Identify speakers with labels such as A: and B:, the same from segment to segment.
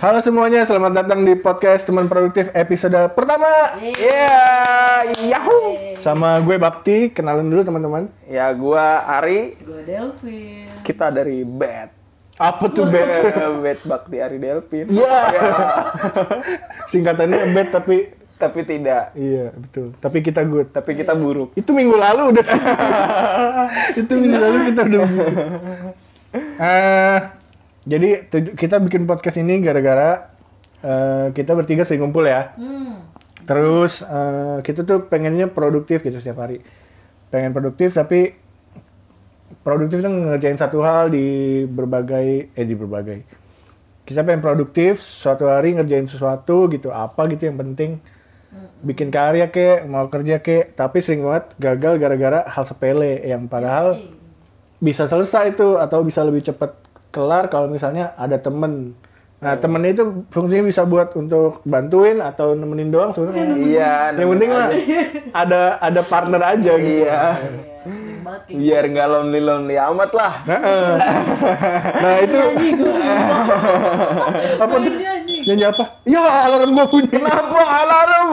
A: Halo semuanya, selamat datang di podcast Teman Produktif episode pertama.
B: Yeah, yahoo.
A: Sama gue Bakti, kenalin dulu teman-teman.
B: Ya gua Ari,
C: Gue Delvin.
B: kita dari Bad.
A: Apa tuh bed?
B: Eh, Bad Bakti Ari Delvin.
A: Ya. Singkatannya bed tapi
B: Tapi tidak,
A: iya betul. Tapi kita good.
B: tapi kita buruk.
A: Itu minggu lalu udah. itu minggu lalu kita udah. begitu. Eh, jadi tuju- kita bikin podcast ini gara-gara eh, kita bertiga sering ngumpul ya. Terus eh, kita tuh pengennya produktif gitu setiap hari. Pengen produktif tapi produktif tuh ngerjain satu hal di berbagai eh di berbagai. Kita pengen produktif suatu hari ngerjain sesuatu gitu apa gitu yang penting bikin karya kek mau kerja kek tapi sering banget gagal gara-gara hal sepele yang
B: Iya.
A: padahal bisa selesai itu atau bisa lebih cepat kelar kalau misalnya ada temen
B: Iya.
A: nah temen itu fungsinya bisa buat untuk bantuin atau nemenin doang sebenarnya
B: Iya.
A: yang penting mah ada ada partner aja gitu
B: Iya.
C: Ya, sering banget kayak
B: Biar nggak lonely lonely amat lah.
A: nah, eh. nah itu apa tuh
C: Ini anjing.
A: nyanyi apa ya alarm gua bunyi
B: Kenapa alarm?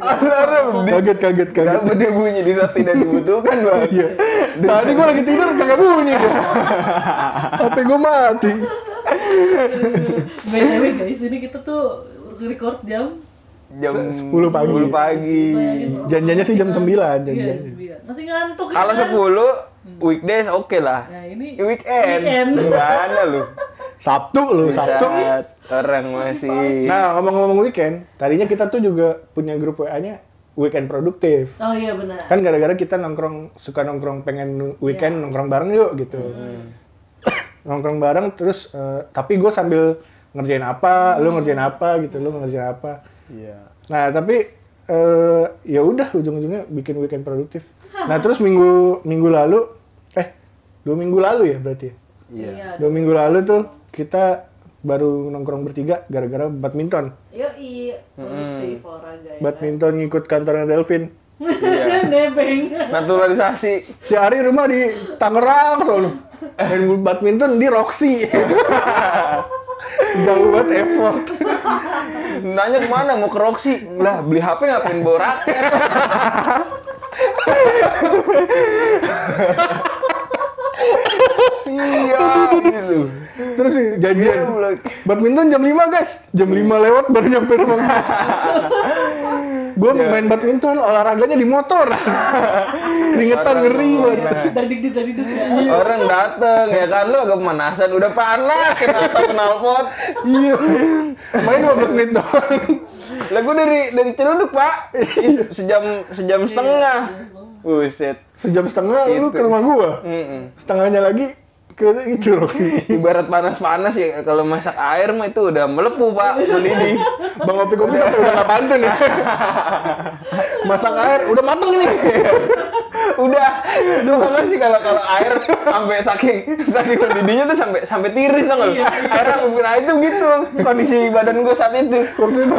B: Alarm.
A: kaget kaget kaget
B: Kenapa dia bunyi di saat tidak dibutuhkan, Bang?
A: Iya. Tadi gue lagi tidur kagak bunyi gue. HP gue mati.
C: By the way guys, ini kita tuh record jam ya gitu.
B: Jam
A: Se- 10 pagi.
B: 10 pagi.
A: Janjiannya sih jam 9
C: iya,
A: janjiannya.
C: sembilan. Masih ngantuk ya
B: Kalau
C: kan?
B: 10 weekdays oke lah.
C: Nah, ini
B: weekend.
C: weekend.
B: Gimana lu?
A: Sabtu lu, Sabtu.
B: Saat orang masih
A: Nah, ngomong-ngomong weekend, tadinya kita tuh juga punya grup WA-nya weekend produktif.
C: Oh iya benar.
A: Kan gara-gara kita nongkrong suka nongkrong pengen weekend nongkrong bareng yuk gitu. nongkrong bareng terus eh, tapi gue sambil ngerjain apa, lu ngerjain apa gitu, lu ngerjain apa.
B: Iya.
A: Nah, tapi eh ya udah ujung-ujungnya bikin weekend produktif. Nah, terus minggu minggu lalu eh dua minggu lalu ya berarti. ya?
B: Iya.
C: Iya.
A: Dua minggu lalu tuh kita baru nongkrong bertiga gara-gara badminton.
C: Yo i, produktif olahraga ya.
A: Badminton ngikut kantornya Delvin.
C: Nebeng.
B: Iya. Naturalisasi.
A: Si Ari rumah di Tangerang soalnya. Dan badminton di Roxy. Jauh banget effort.
B: Nanya kemana? Mau ke Roxy? Lah beli HP ngapain bawa raket? iya gitu.
A: Terus sih janjian. Badminton jam 5 guys. Jam 5 lewat baru nyampe rumah. gue main badminton, olahraganya di motor. Keringetan ngeri banget.
C: Dari dik dari ya. dik.
B: Orang dateng ya kan lu agak pemanasan udah panas kena asap knalpot.
A: Iya. Main 15 menit doang.
B: Lah gua dari dari Ciledug, Pak. Ih, Sejam sejam setengah. Buset.
A: Sejam setengah lu ke rumah gue.
B: Mm-mm.
A: Setengahnya lagi ke itu Roxy.
B: Ibarat panas-panas ya kalau masak air mah itu udah melepuh, Pak. Mendidih.
A: Bang Opi Kopi sampai udah gak pantun ya. Masak air, udah mateng nih.
B: udah udah tau gak sih kalau kalau air sampai saking saking mendidihnya tuh sampai sampai tiris tau gak
C: Iya.
B: lu? air aku kira itu gitu kondisi badan gue saat itu
A: Waktu itu.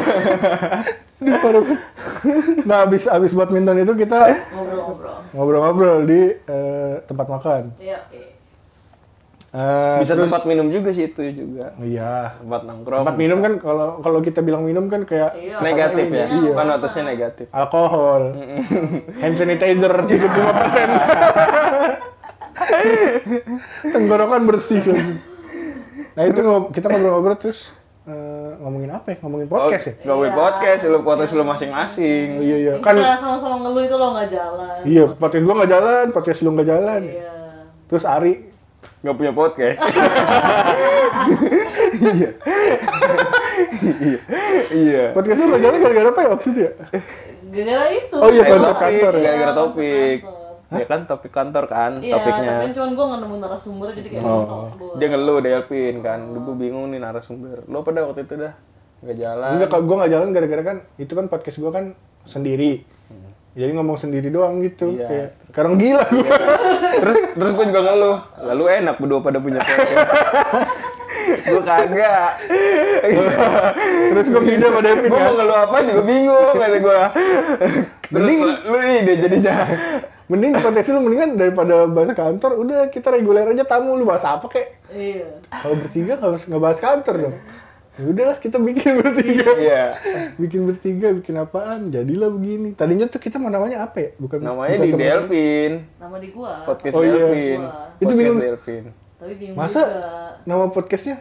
A: Ini parah banget. Nah, abis, abis badminton itu kita
C: Ngobrol-ngobrol. Iya,
A: ngobrol-ngobrol di eh, tempat makan.
C: Yo i.
A: Eh,
B: bisa tempat minum juga sih itu juga
A: Iya.
B: tempat nongkrong
A: Tempat minum kan kalau kalau kita bilang minum kan kayak
C: Iya.
B: negatif ya
C: Iya.
B: kan atasnya negatif
A: alkohol, hand sanitizer 35 persen. Tenggorokan bersih lagi. Nah itu ngob- kita ngobrol-ngobrol terus eh, ngomongin apa ya? Ngomongin podcast ya?
B: gak boleh
C: Iya.
B: podcast lu podcast lu masing-masing
A: Oh, iya iya
C: Ini
A: kan
C: Kita sama-sama ngeluh itu lo nggak jalan.
A: iya podcast gua nggak jalan, podcast lu nggak jalan.
C: Iya.
A: Terus Ari
B: gak punya podcast iya iya
A: podcast lu nggak jalan gara-gara apa ya waktu itu ya?
C: Gara-gara itu.
A: Oh, iya,
B: Eh,
A: konsep
B: topik,
A: kantor ya?
B: gara-gara
C: Konsep
B: topik
C: Iya, kantor.
B: ya kan topik kantor kan
C: Iya,
B: topiknya
C: tapi cuman gue nggak nemu narasumber jadi kayak oh.
B: dia ngeluh deh Alvin kan lu gue bingung nih narasumber lu pada waktu itu dah nggak jalan
A: Enggak kalau gua nggak jalan gara-gara kan itu kan podcast gua kan sendiri. Jadi ngomong sendiri doang gitu
B: Iya.
A: kayak karena gila gua.
B: terus terus gue juga ngeluh lalu enak berdua pada punya podcast gue kagak
A: Terus gua pindah sama Devin
B: gue
A: kan.
B: mau ngeluh apa juga bingung kata gue terus
A: Mending-
B: lu- lu ide jadi jahat
A: Mending di podcast lu mendingan daripada bahasa kantor, udah kita reguler aja tamu lu bahas apa kek.
C: Iya.
A: Kalau bertiga nggak bahas, nggak bahas kantor dong. ya udahlah kita bikin bertiga
B: Iya.
A: bikin bertiga bikin apaan jadilah begini tadinya tuh kita mau namanya apa ya bukan
B: Namanya
A: bukan
B: di
A: teman-
B: Delpin.
C: Nama di gua.
B: Podcast
A: Oh, iya.
B: Delpin.
C: Wah.
A: Itu
B: Podcast
A: bingung.
B: Delpin.
C: Tapi bingung
A: masa
C: juga.
A: nama podcastnya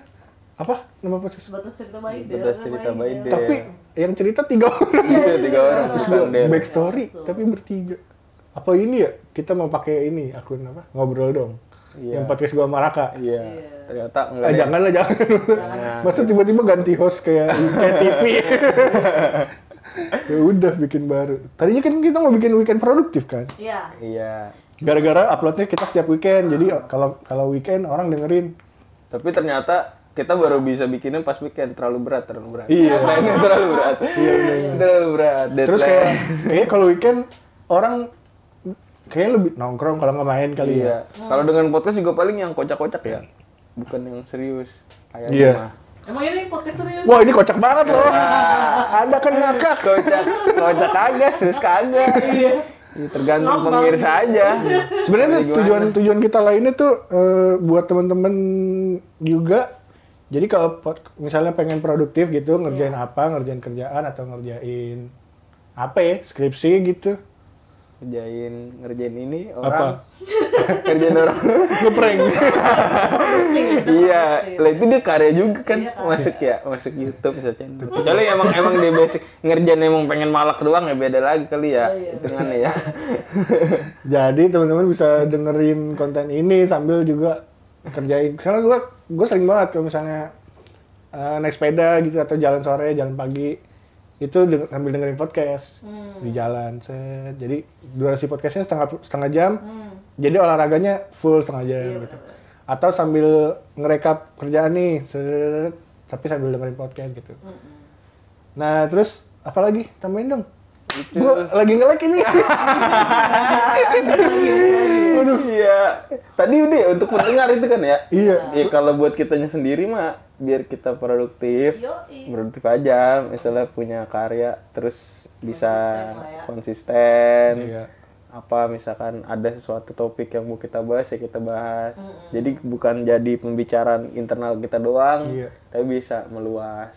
A: apa nama podcast
C: Sebatas cerita Baidel.
B: Sebatas cerita
C: Iya, namanya.
B: Baidel.
A: tapi yang cerita tiga orang
B: Iya, tiga orang.
A: terus
B: bukan
A: gua
B: Del.
A: backstory
C: Langsung.
A: tapi bertiga apa ini ya kita mau pakai ini akun apa ngobrol dong
B: Iya.
A: yang podcast gua Maraka
B: Iya. Ternyata enggak.
A: Ah,
B: ada.
A: janganlah jangan.
B: Jangan.
A: Masa tiba-tiba ganti host kayak kayak TV. ya udah bikin baru. Tadinya kan kita mau bikin weekend produktif kan.
C: Iya.
B: Iya.
A: Gara-gara uploadnya kita setiap weekend. Jadi kalau kalau weekend orang dengerin.
B: Tapi ternyata kita baru bisa bikinnya pas weekend terlalu berat terlalu berat.
A: Iya.
B: Deadline-nya terlalu berat. Terlalu berat.
A: Terus
B: Deadline.
A: kayak kayak kalau weekend orang kayaknya lebih nongkrong kalau nggak main kali ya.
B: Iya. Kalau dengan podcast juga paling yang kocak-kocak ya. Bukan yang serius. Kayak
A: Iya.
B: mah.
C: Emang ini podcast serius?
A: Wah ini kocak banget loh.
B: Iya.
A: Anda kan ngakak.
B: Kocak, kocak kagak, serius kagak. Iya. Tergantung
C: Ngambang.
B: pemirsa aja.
A: Sebenarnya tuh tujuan tujuan kita lainnya tuh eh, buat teman-teman juga. Jadi kalau pod- misalnya pengen produktif
B: Iya.
A: gitu, ngerjain apa, ngerjain kerjaan atau ngerjain apa ya, skripsi gitu.
B: Ngerjain ngerjain ini
A: Apa?
B: orang. ngerjain orang.
A: Ngeprank.
B: iya,
C: ya.
B: lah itu dia karya juga kan
C: Iya, karya.
B: masuk ya, masuk YouTube bisa channel. Kecuali emang emang dia basic ngerjain emang pengen malak doang ya beda lagi kali ya
C: Oh, iya.
B: hitungannya ya.
A: Jadi teman-teman bisa dengerin konten ini sambil juga kerjain. Karena gua gua sering banget kalau misalnya eh, naik sepeda gitu atau jalan sore, jalan pagi itu denger- sambil dengerin podcast
C: Hmm.
A: di jalan set. Jadi durasi podcastnya setengah setengah jam.
C: Hmm.
A: Jadi olahraganya full setengah jam
C: Iya,
A: gitu.
C: benar-benar.
A: Atau sambil ngerekap kerjaan nih, seret, tapi sambil dengerin podcast gitu.
C: Hmm.
A: Nah terus apa lagi? Tambahin dong. Gue lagi ngelek ini.
B: Aduh. Iya. Tadi udah ya untuk mendengar itu kan ya.
A: Iya.
B: Iya kalau buat kitanya sendiri mah biar kita produktif.
C: Yoi.
B: Produktif aja, misalnya punya karya terus bisa
C: Konsisten lah ya.
B: konsisten.
A: Iya.
B: Apa misalkan ada sesuatu topik yang mau kita bahas ya kita bahas. Jadi bukan jadi pembicaraan internal kita doang,
A: Iya.
B: tapi bisa meluas.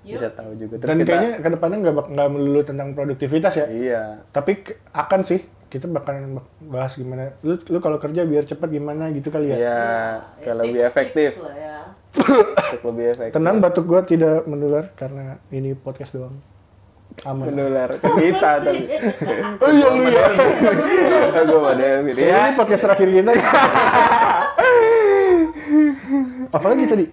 B: Bisa tahu juga terus
A: Dan
B: kita
A: kayaknya kedepannya nggak bak- nggak melulu tentang produktivitas ya.
B: Iya.
A: Tapi ke- akan sih kita bakalan bak- bahas gimana. Lu, lu kalau kerja biar cepat gimana gitu kali ya.
B: Iya,
C: Ya,
B: kayak lebih
C: tips-tips
B: efektif,
C: lah ya.
B: untuk lebih efektif.
A: Tenang batuk gua tidak menular karena ini podcast doang. Aman.
B: menular ke kita tapi
A: Oh iya lu ya.
B: gue pada gitu
A: Kayaknya
B: ya
A: Ini podcast terakhir kita. Apalagi tadi?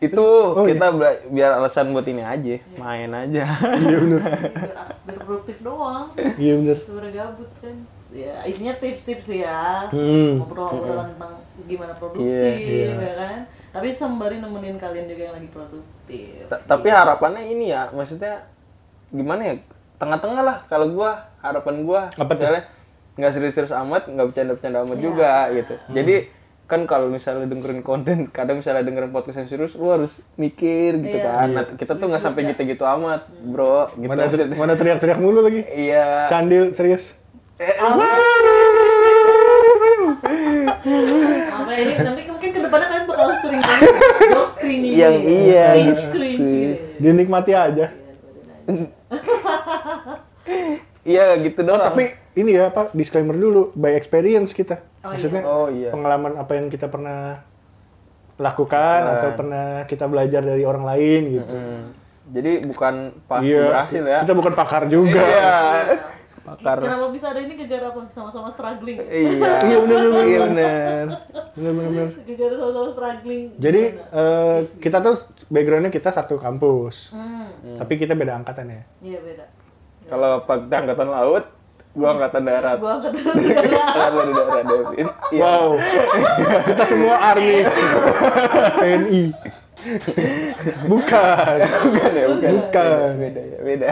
B: itu
A: iya.
B: kita bela- biar alasan buat ini aja main aja
A: Iya bener.
C: Biar biar produktif doang.
A: Iya bener.
C: Sebenernya gabut kan. Ya, isinya tips-tips sih ya.
A: Hmm.
C: Ngobrol-ngobrolan tentang gimana
A: Iya,
C: produktif
A: iya.
C: ya kan. Tapi sembari nemenin kalian juga yang lagi produktif.
B: Ta- tapi harapannya ini ya maksudnya gimana ya tengah-tengah lah kalau gua harapan gua
A: Apa tuh?
B: misalnya nggak serius-serius amat nggak bercanda-bercanda amat juga gitu
A: Hmm.
B: jadi kan kalau misalnya dengerin konten kadang misalnya dengerin podcast yang serius lu harus mikir gitu
C: Iya.
B: kan Nah, kita tuh nggak sampai gitu-gitu amat bro gitu
A: Mana, ter-
B: maksudnya.
A: mana teriak-teriak mulu lagi?
B: iya
A: Candil serius.
B: Eh,
C: Apa ini nanti mungkin kedepannya kalian bakal sering banget job screening. gitu ya.
B: Yang iya.
C: Cringe cringe.
A: Dinikmati aja.
B: Iya gitu doang.
A: Tapi ini ya Pak, disclaimer dulu by experience kita.
C: Oh,
A: Maksudnya
B: iya. Oh, iya.
A: pengalaman apa yang kita pernah lakukan atau pernah kita belajar dari orang lain gitu.
B: Nah. Hmm. jadi bukan pas
A: Iya.
B: berhasil ya.
A: Kita bukan pakar juga.
B: Iya.
C: Iya.
B: Pakar.
C: Kenapa bisa ada ini gara-gara apa? Sama-sama struggling.
B: Iya.
A: Iya, bener, bener,
B: Iya bener.
A: Bener, bener, bener.
C: Gara-gara sama-sama struggling.
A: Jadi eh, kita tuh backgroundnya kita satu kampus,
C: Hmm,
A: tapi kita beda angkatan ya.
C: iya beda.
B: Kalau Pak kita angkatan laut, gua angkatan darat.
C: Gua angkat darah.
B: Kenapa di darat Devin? Iya.
A: Wow, kita semua army, TNI. bukan,
B: Bukan ya, bukan.
A: Iya. Bukan.
B: Beda ya, beda.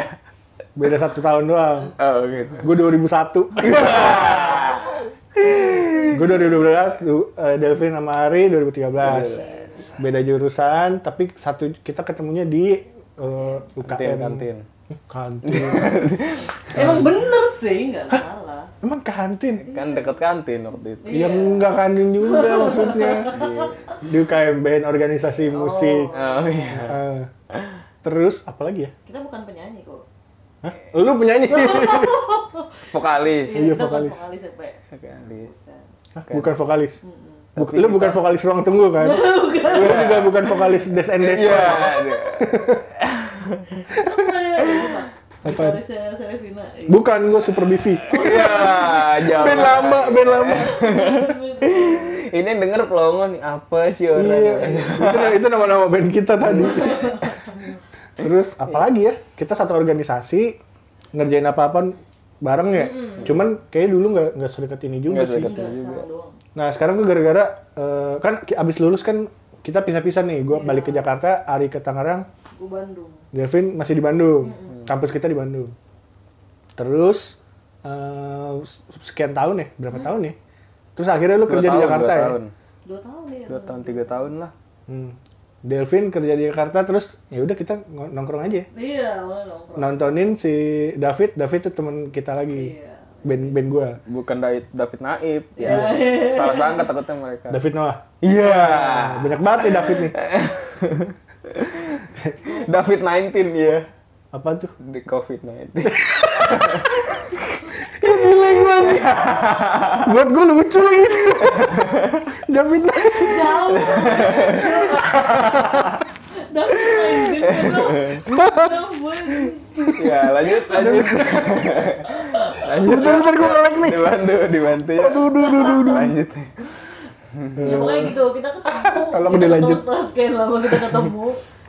A: beda satu tahun doang.
B: Oh gitu.
A: Gue 2001. Gue 2012, du- eh, Delvin sama Ari
B: Iya,
A: 2013. Beda jurusan, tapi satu kita ketemunya di eh,
B: Kantin,
A: UKM.
B: kantin.
A: Eh, Kantin.
C: Emang bener sih, nggak salah.
A: Emang kantin?
B: Kan deket kantin waktu itu.
A: Ya enggak kantin juga maksudnya. Di UKM band organisasi musik.
B: Oh iya.
A: Eh, Terus apalagi ya?
C: Kita bukan penyanyi kok.
A: Hah? Lu penyanyi.
B: vokalis
A: Iya,
C: kita bukan
A: vokalis.
C: vokalis apa ya?
B: vokalis
C: Bukan.
A: Hah, bukan vokalis. Buk-
B: Tapi
A: lu
B: kita-
A: bukan vokalis ruang tunggu kan? Lu juga bukan vokalis Des and kan? Des.
B: iya
C: Kita bukan ya? Bukan.
A: Apa?
C: Vokalisnya Serafina. Iya.
A: Bukan gue Super Bivi.
B: iya jangan
A: band lama, band lama.
B: ini yang denger pelongo nih apa sih orang
A: iya. itu itu nama-nama band kita tadi. Terus apalagi ya? Kita satu organisasi ngerjain apa-apa bareng ya. Cuman kayak dulu nggak nggak sedekat ini juga
B: Nggak
A: sih.
B: sedekat.
C: Enggak, sekarang doang.
A: Nah sekarang gue gara-gara eh, kan ki- abis lulus kan kita pisah-pisah nih. Gue balik ke Jakarta, Ari ke Tangerang,
C: Gue Bandung.
A: Delvin masih di Bandung. Kampus kita di Bandung. Terus eh, sekian tahun ya, berapa tahun ya? Terus akhirnya lu
B: Dua
A: kerja di
B: tahun,
A: Jakarta
B: dua
A: ya.
B: tahun.
C: Dua tahun ya.
B: dua tahun tiga tahun lah
A: Hmm. Delvin kerja di Jakarta terus ya udah kita ng- nongkrong aja. ya.
C: Iya,
A: Nah.
C: awalnya nongkrong.
A: Nontonin si David, David itu teman kita lagi.
C: Iya.
A: Band band gua.
B: bukan David David Naib ya
A: Iya.
B: salah sangka takutnya mereka
A: David Noah.
B: iya
A: Nah, banyak banget ya David nih.
B: David 19 ya
A: Apa tuh?
B: di COVID 19
A: Buat gua lucu lagi itu. David Noah.
C: Jauh. Tapi main gitu. Jauh banget.
B: ya lanjut lanjut lanjut
A: Bentar bentar gua ngelek nih.
B: dibantu dibantu ya lanjut
C: ya pokoknya gitu kita ketemu
A: Hmm. Tolong
C: kita
A: dilanjut.
C: ketemu setelah sekian lama kita ketemu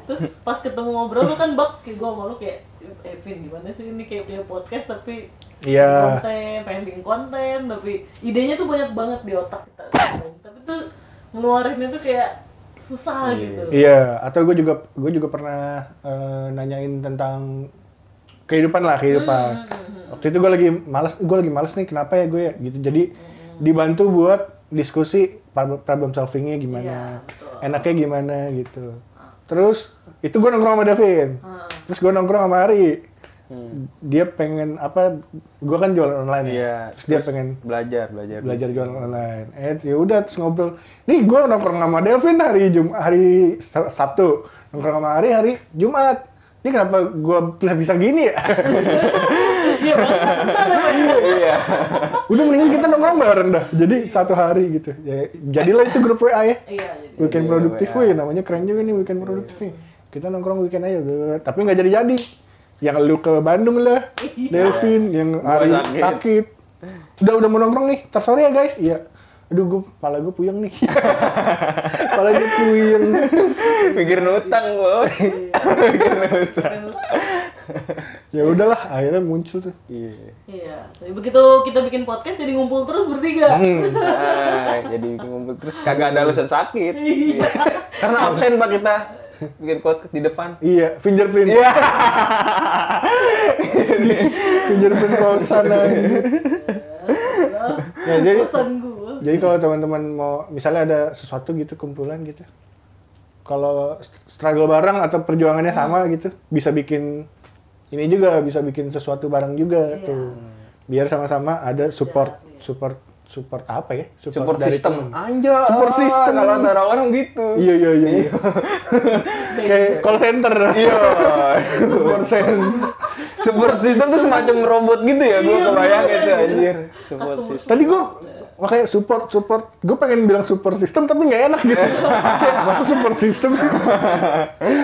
C: terus pas ketemu ngobrol lu kan bak kayak gua sama lu kayak eh Vin gimana sih ini kayak punya podcast tapi
A: Iya.
C: konten pengen bikin konten tapi idenya tuh banyak banget di otak kita tapi tuh ngeluarinnya tuh kayak susah gitu
A: Iya, atau gue juga gue juga pernah eh, nanyain tentang kehidupan lah
C: Hmm,
A: kehidupan. Waktu itu gue lagi malas, gue lagi malas nih kenapa ya gue ya gitu. Jadi
C: Hmm.
A: dibantu buat diskusi par- problem solvingnya gimana,
C: Iya, betul.
A: enaknya gimana gitu. Terus itu gue nongkrong sama Davin,
C: Hmm.
A: terus gue nongkrong sama Ari. Dia pengen apa? Gue kan jualan online ya.
B: iya
A: Terus dia pengen
B: belajar belajar
A: belajar gitu. jualan online. Eh ya udah terus ngobrol. Nih gue nongkrong sama Delvin hari Jum hari Sa- Sabtu, nongkrong sama hari hari Jumat. Ini kenapa gue bisa-bisa gini ya?
C: iya banget
B: iya
A: udah mendingan kita nongkrong bareng dah. Jadi satu hari gitu. Ya, jadilah itu grup WA ya.
C: iya jadi
A: Weekend
B: Iya,
A: produktif,
B: WA.
A: wih namanya keren juga nih weekend produktif. nih. Kita nongkrong weekend aja, bla, bla, bla. tapi nggak jadi-jadi. Yang lu ke Bandung lah, Delvin, yang
B: Iya. Gua
A: Ari
B: sakit.
A: sakit. Udah udah mau nongkrong nih, ntar sore ya guys. Iya. Aduh, gue pala gue puyeng nih. pala gue puyeng.
B: mikir utang bos
C: keren lu.
A: Ya udahlah, akhirnya muncul tuh.
B: iya
C: iya tapi begitu kita bikin podcast jadi ngumpul terus bertiga
A: Hmm.
B: Nah, jadi ngumpul terus kagak ada alasan sakit. Iya. Karena absen Pak kita bikin podcast di depan.
A: Iya, fingerprint. Iya. fingerprint kosan aja. Ya, jadi
C: pesan gue
A: Jadi kalau teman-teman mau misalnya ada sesuatu gitu kumpulan gitu. Kalau st- struggle bareng atau perjuangannya sama gitu, bisa bikin ini juga bisa bikin sesuatu bareng juga
C: Iya.
A: tuh. Biar sama-sama ada support support support apa ya?
B: Support
A: dari teman.
B: system. Anja.
A: Support system.
B: Kalau antara orang gitu.
A: Iya iya iya. iya. Kayak call center.
B: Iya.
A: support center.
B: Support system tuh semacam robot gitu ya,
A: Iya,
B: gua kebayang itu anjir. Support
C: Customer
B: system.
A: Tadi gue makanya support support gue pengen bilang support system tapi nggak enak gitu Kayak, masa support system sih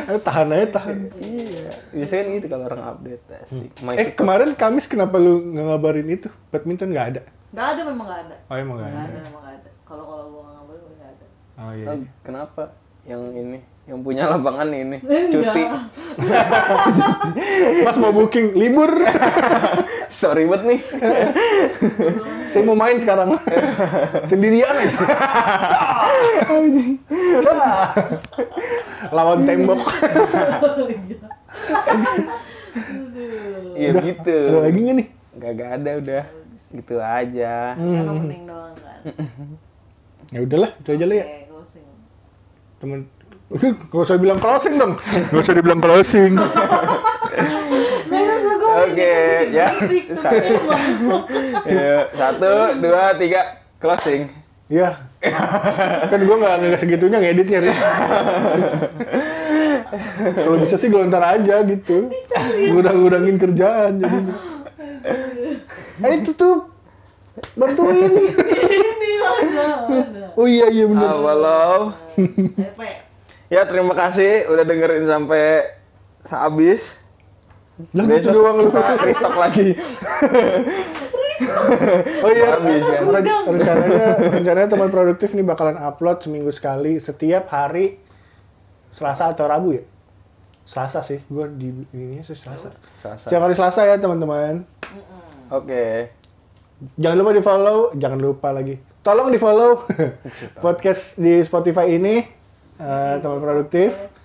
A: Ayo, tahan aja tahan
B: Iya. Biasanya kan gitu kalau orang update asik. My
A: eh kemarin Kamis kenapa lu nggak ngabarin itu badminton nggak ada
C: nggak ada memang nggak ada
A: oh emang nggak
C: Nggak
A: ada
C: ada, emang nggak ada. Kalau kalau gua nggak ngambil, gua nggak ada.
A: oh iya
B: Oh, kenapa? Yang ini, yang punya lapangan ini.
C: Enggak.
B: Cuti.
A: mas iya. mau booking libur
B: Sorry banget nih.
A: Iya. saya mau main sekarang sendirian aja Tah. lawan tembok
B: Iya
C: Iya.
B: gitu.
A: ada lagi nggak nih
B: Gak ada udah. Gitu aja.
C: Kan opening doang kan.
A: ya udahlah itu aja lah ya
C: Oke, closing.
A: temen Gak usah bilang closing dong Gak usah dibilang closing
C: Nah, terus gua mau
B: Oke,
C: bikin
B: ya.
C: musik, tapi
B: Sorry.
C: nggak masuk.
A: Iya.
B: Yuk, satu, dua, tiga, closing.
A: Iya. kan gue gak, nggak segitunya ngeditnya. Ri. Kalau bisa sih lontar aja gitu. Ngurang-ngurangin kerjaan jadinya. Eh itu tuh bantuin.
C: ini mana mana
A: Oh iya iya benar.
B: Ah, Halo.
C: EP
B: Ya terima kasih udah dengerin sampai habis.
A: Lah gitu doang lu.
B: kita restock lagi.
A: Oh iya,
B: Habis, ya.
A: renc- rencananya rencananya teman produktif nih bakalan upload seminggu sekali setiap hari Selasa atau Rabu ya? Selasa sih, gua di ininya sih Selasa.
B: Selasa.
A: Setiap hari Selasa ya teman-teman.
B: Oke.
A: Jangan lupa di follow, jangan lupa lagi. Tolong di follow podcast di Spotify ini eh, teman produktif.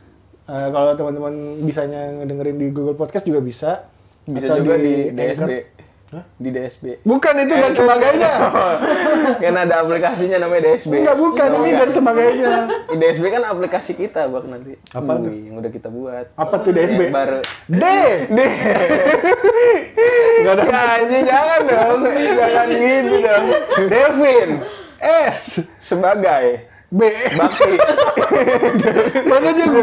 A: Eh, kalau teman-teman bisanya ngedengerin di Google Podcast juga bisa.
B: Bisa
A: Atau
B: juga di,
A: Anchor.
B: DSB. Di DSB.
A: Bukan itu dan
B: Eh,
A: sebagainya.
B: kan ada aplikasinya namanya DSB.
A: Enggak bukan
B: Tahu
A: ini
B: nggak?
A: dan sebagainya.
B: DSB kan aplikasi kita bak nanti.
A: Apa tuh?
B: Yang udah kita buat.
A: Apa tuh DSB?
B: Yang baru.
A: D.
B: D. Gak ada.
A: Ya,
B: anjing, jangan dong. Jangan gitu dong. Devin
A: S
B: sebagai
A: E. B
B: bakti.
A: masa dia gue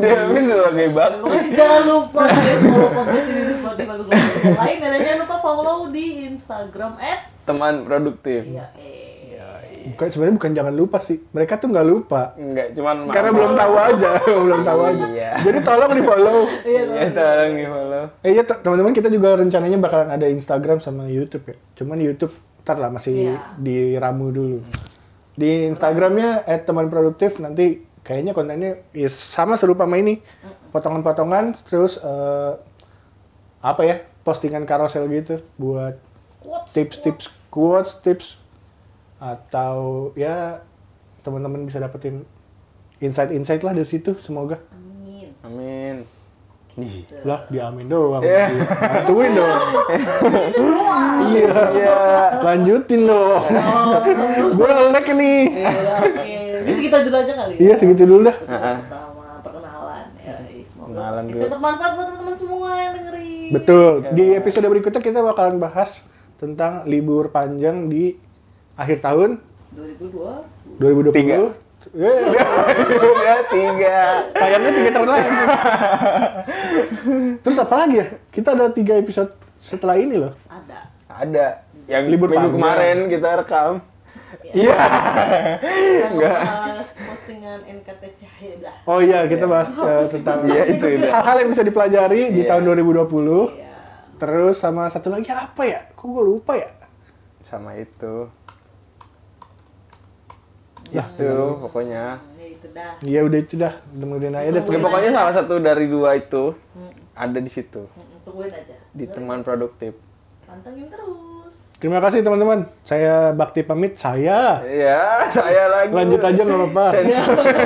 B: Devin sebagai bakti.
C: Pokoknya jangan lupa guys follow podcast ini di Spotify Google Podcast yang lain dan jangan lupa follow di Instagram at
B: Teman produktif.
C: ya eh
A: bukan sebenarnya bukan jangan lupa sih mereka tuh nggak lupa
B: Enggak, cuman
A: karena belum tahu aja belum tahu aja
B: Iya.
A: jadi tolong di follow
B: Iya, tolong di follow.
A: eh iya te- teman-teman kita juga rencananya bakalan ada Instagram sama YouTube ya cuman YouTube ntar lah masih
C: Iya.
A: diramu dulu di Instagramnya at teman produktif nanti kayaknya kontennya ya sama serupa sama ini potongan-potongan terus eh, apa ya postingan karosel gitu buat
C: quotes
A: tips-tips quotes tips atau ya teman-teman bisa dapetin insight-insight lah dari situ semoga
C: amin
B: Amin. Ih.
A: lah diamin doang
B: Iya.
A: bantuin dong iya
B: Iya. Oh,
A: lanjutin dong gue lelek nih
C: Ya, oke ini segitar dulu aja kali ya
A: iya segitu dulu dah
C: Itu pertama perkenalan ya semoga
B: Perkenalan
C: bisa
B: dulu.
C: bermanfaat buat teman-teman semua yang dengerin
B: Iya.
A: betul di episode berikutnya kita bakalan bahas tentang libur panjang di akhir tahun
C: 2002
A: 2020
B: Tiga.
A: Eh,
B: Udah tiga.
A: Kayaknya tiga tahun lagi. Terus apa lagi ya? Kita ada tiga episode setelah ini loh.
C: ada
B: Ada. Yang libur
A: Libur
B: minggu
A: panjang.
B: kemarin kita rekam.
C: Iya.
B: Iya.
C: yang
B: Enggak.
C: bahas postingan NKTC ya dah
A: Oh iya, kita bahas eh, tentang
B: Iya itu udah.
A: hal-hal yang bisa dipelajari di
B: Iya.
A: tahun 2020.
C: ya
A: Terus sama satu lagi apa ya? Kok gue lupa ya?
B: Sama itu.
A: Lah.
B: Itu pokoknya.
C: ya itu dah
A: Iya udah itu dah, dengerin aja deh.
B: Ya, pokoknya salah satu dari dua itu ada di situ
C: Mm, tungguin aja
B: di teman produktif.
C: pantengin terus
A: Terima kasih teman-teman. Saya Bakti pamit. Saya.
B: Ya, saya lagi.
A: Lanjut aja nggak apa-apa.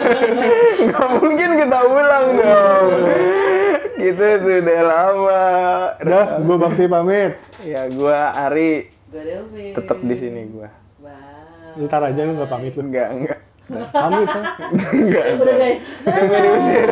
B: Nggak mungkin kita ulang dong. Kita sudah lama.
A: Udah, gue Bakti pamit.
B: Ya gua Ari
C: gue Delvin
B: tetap di sini gua.
C: bye
A: Ntar aja lu nggak pamit lu.
B: Enggak, enggak.
A: Pamit. Sam.
C: udah guys
B: Enggak diusir.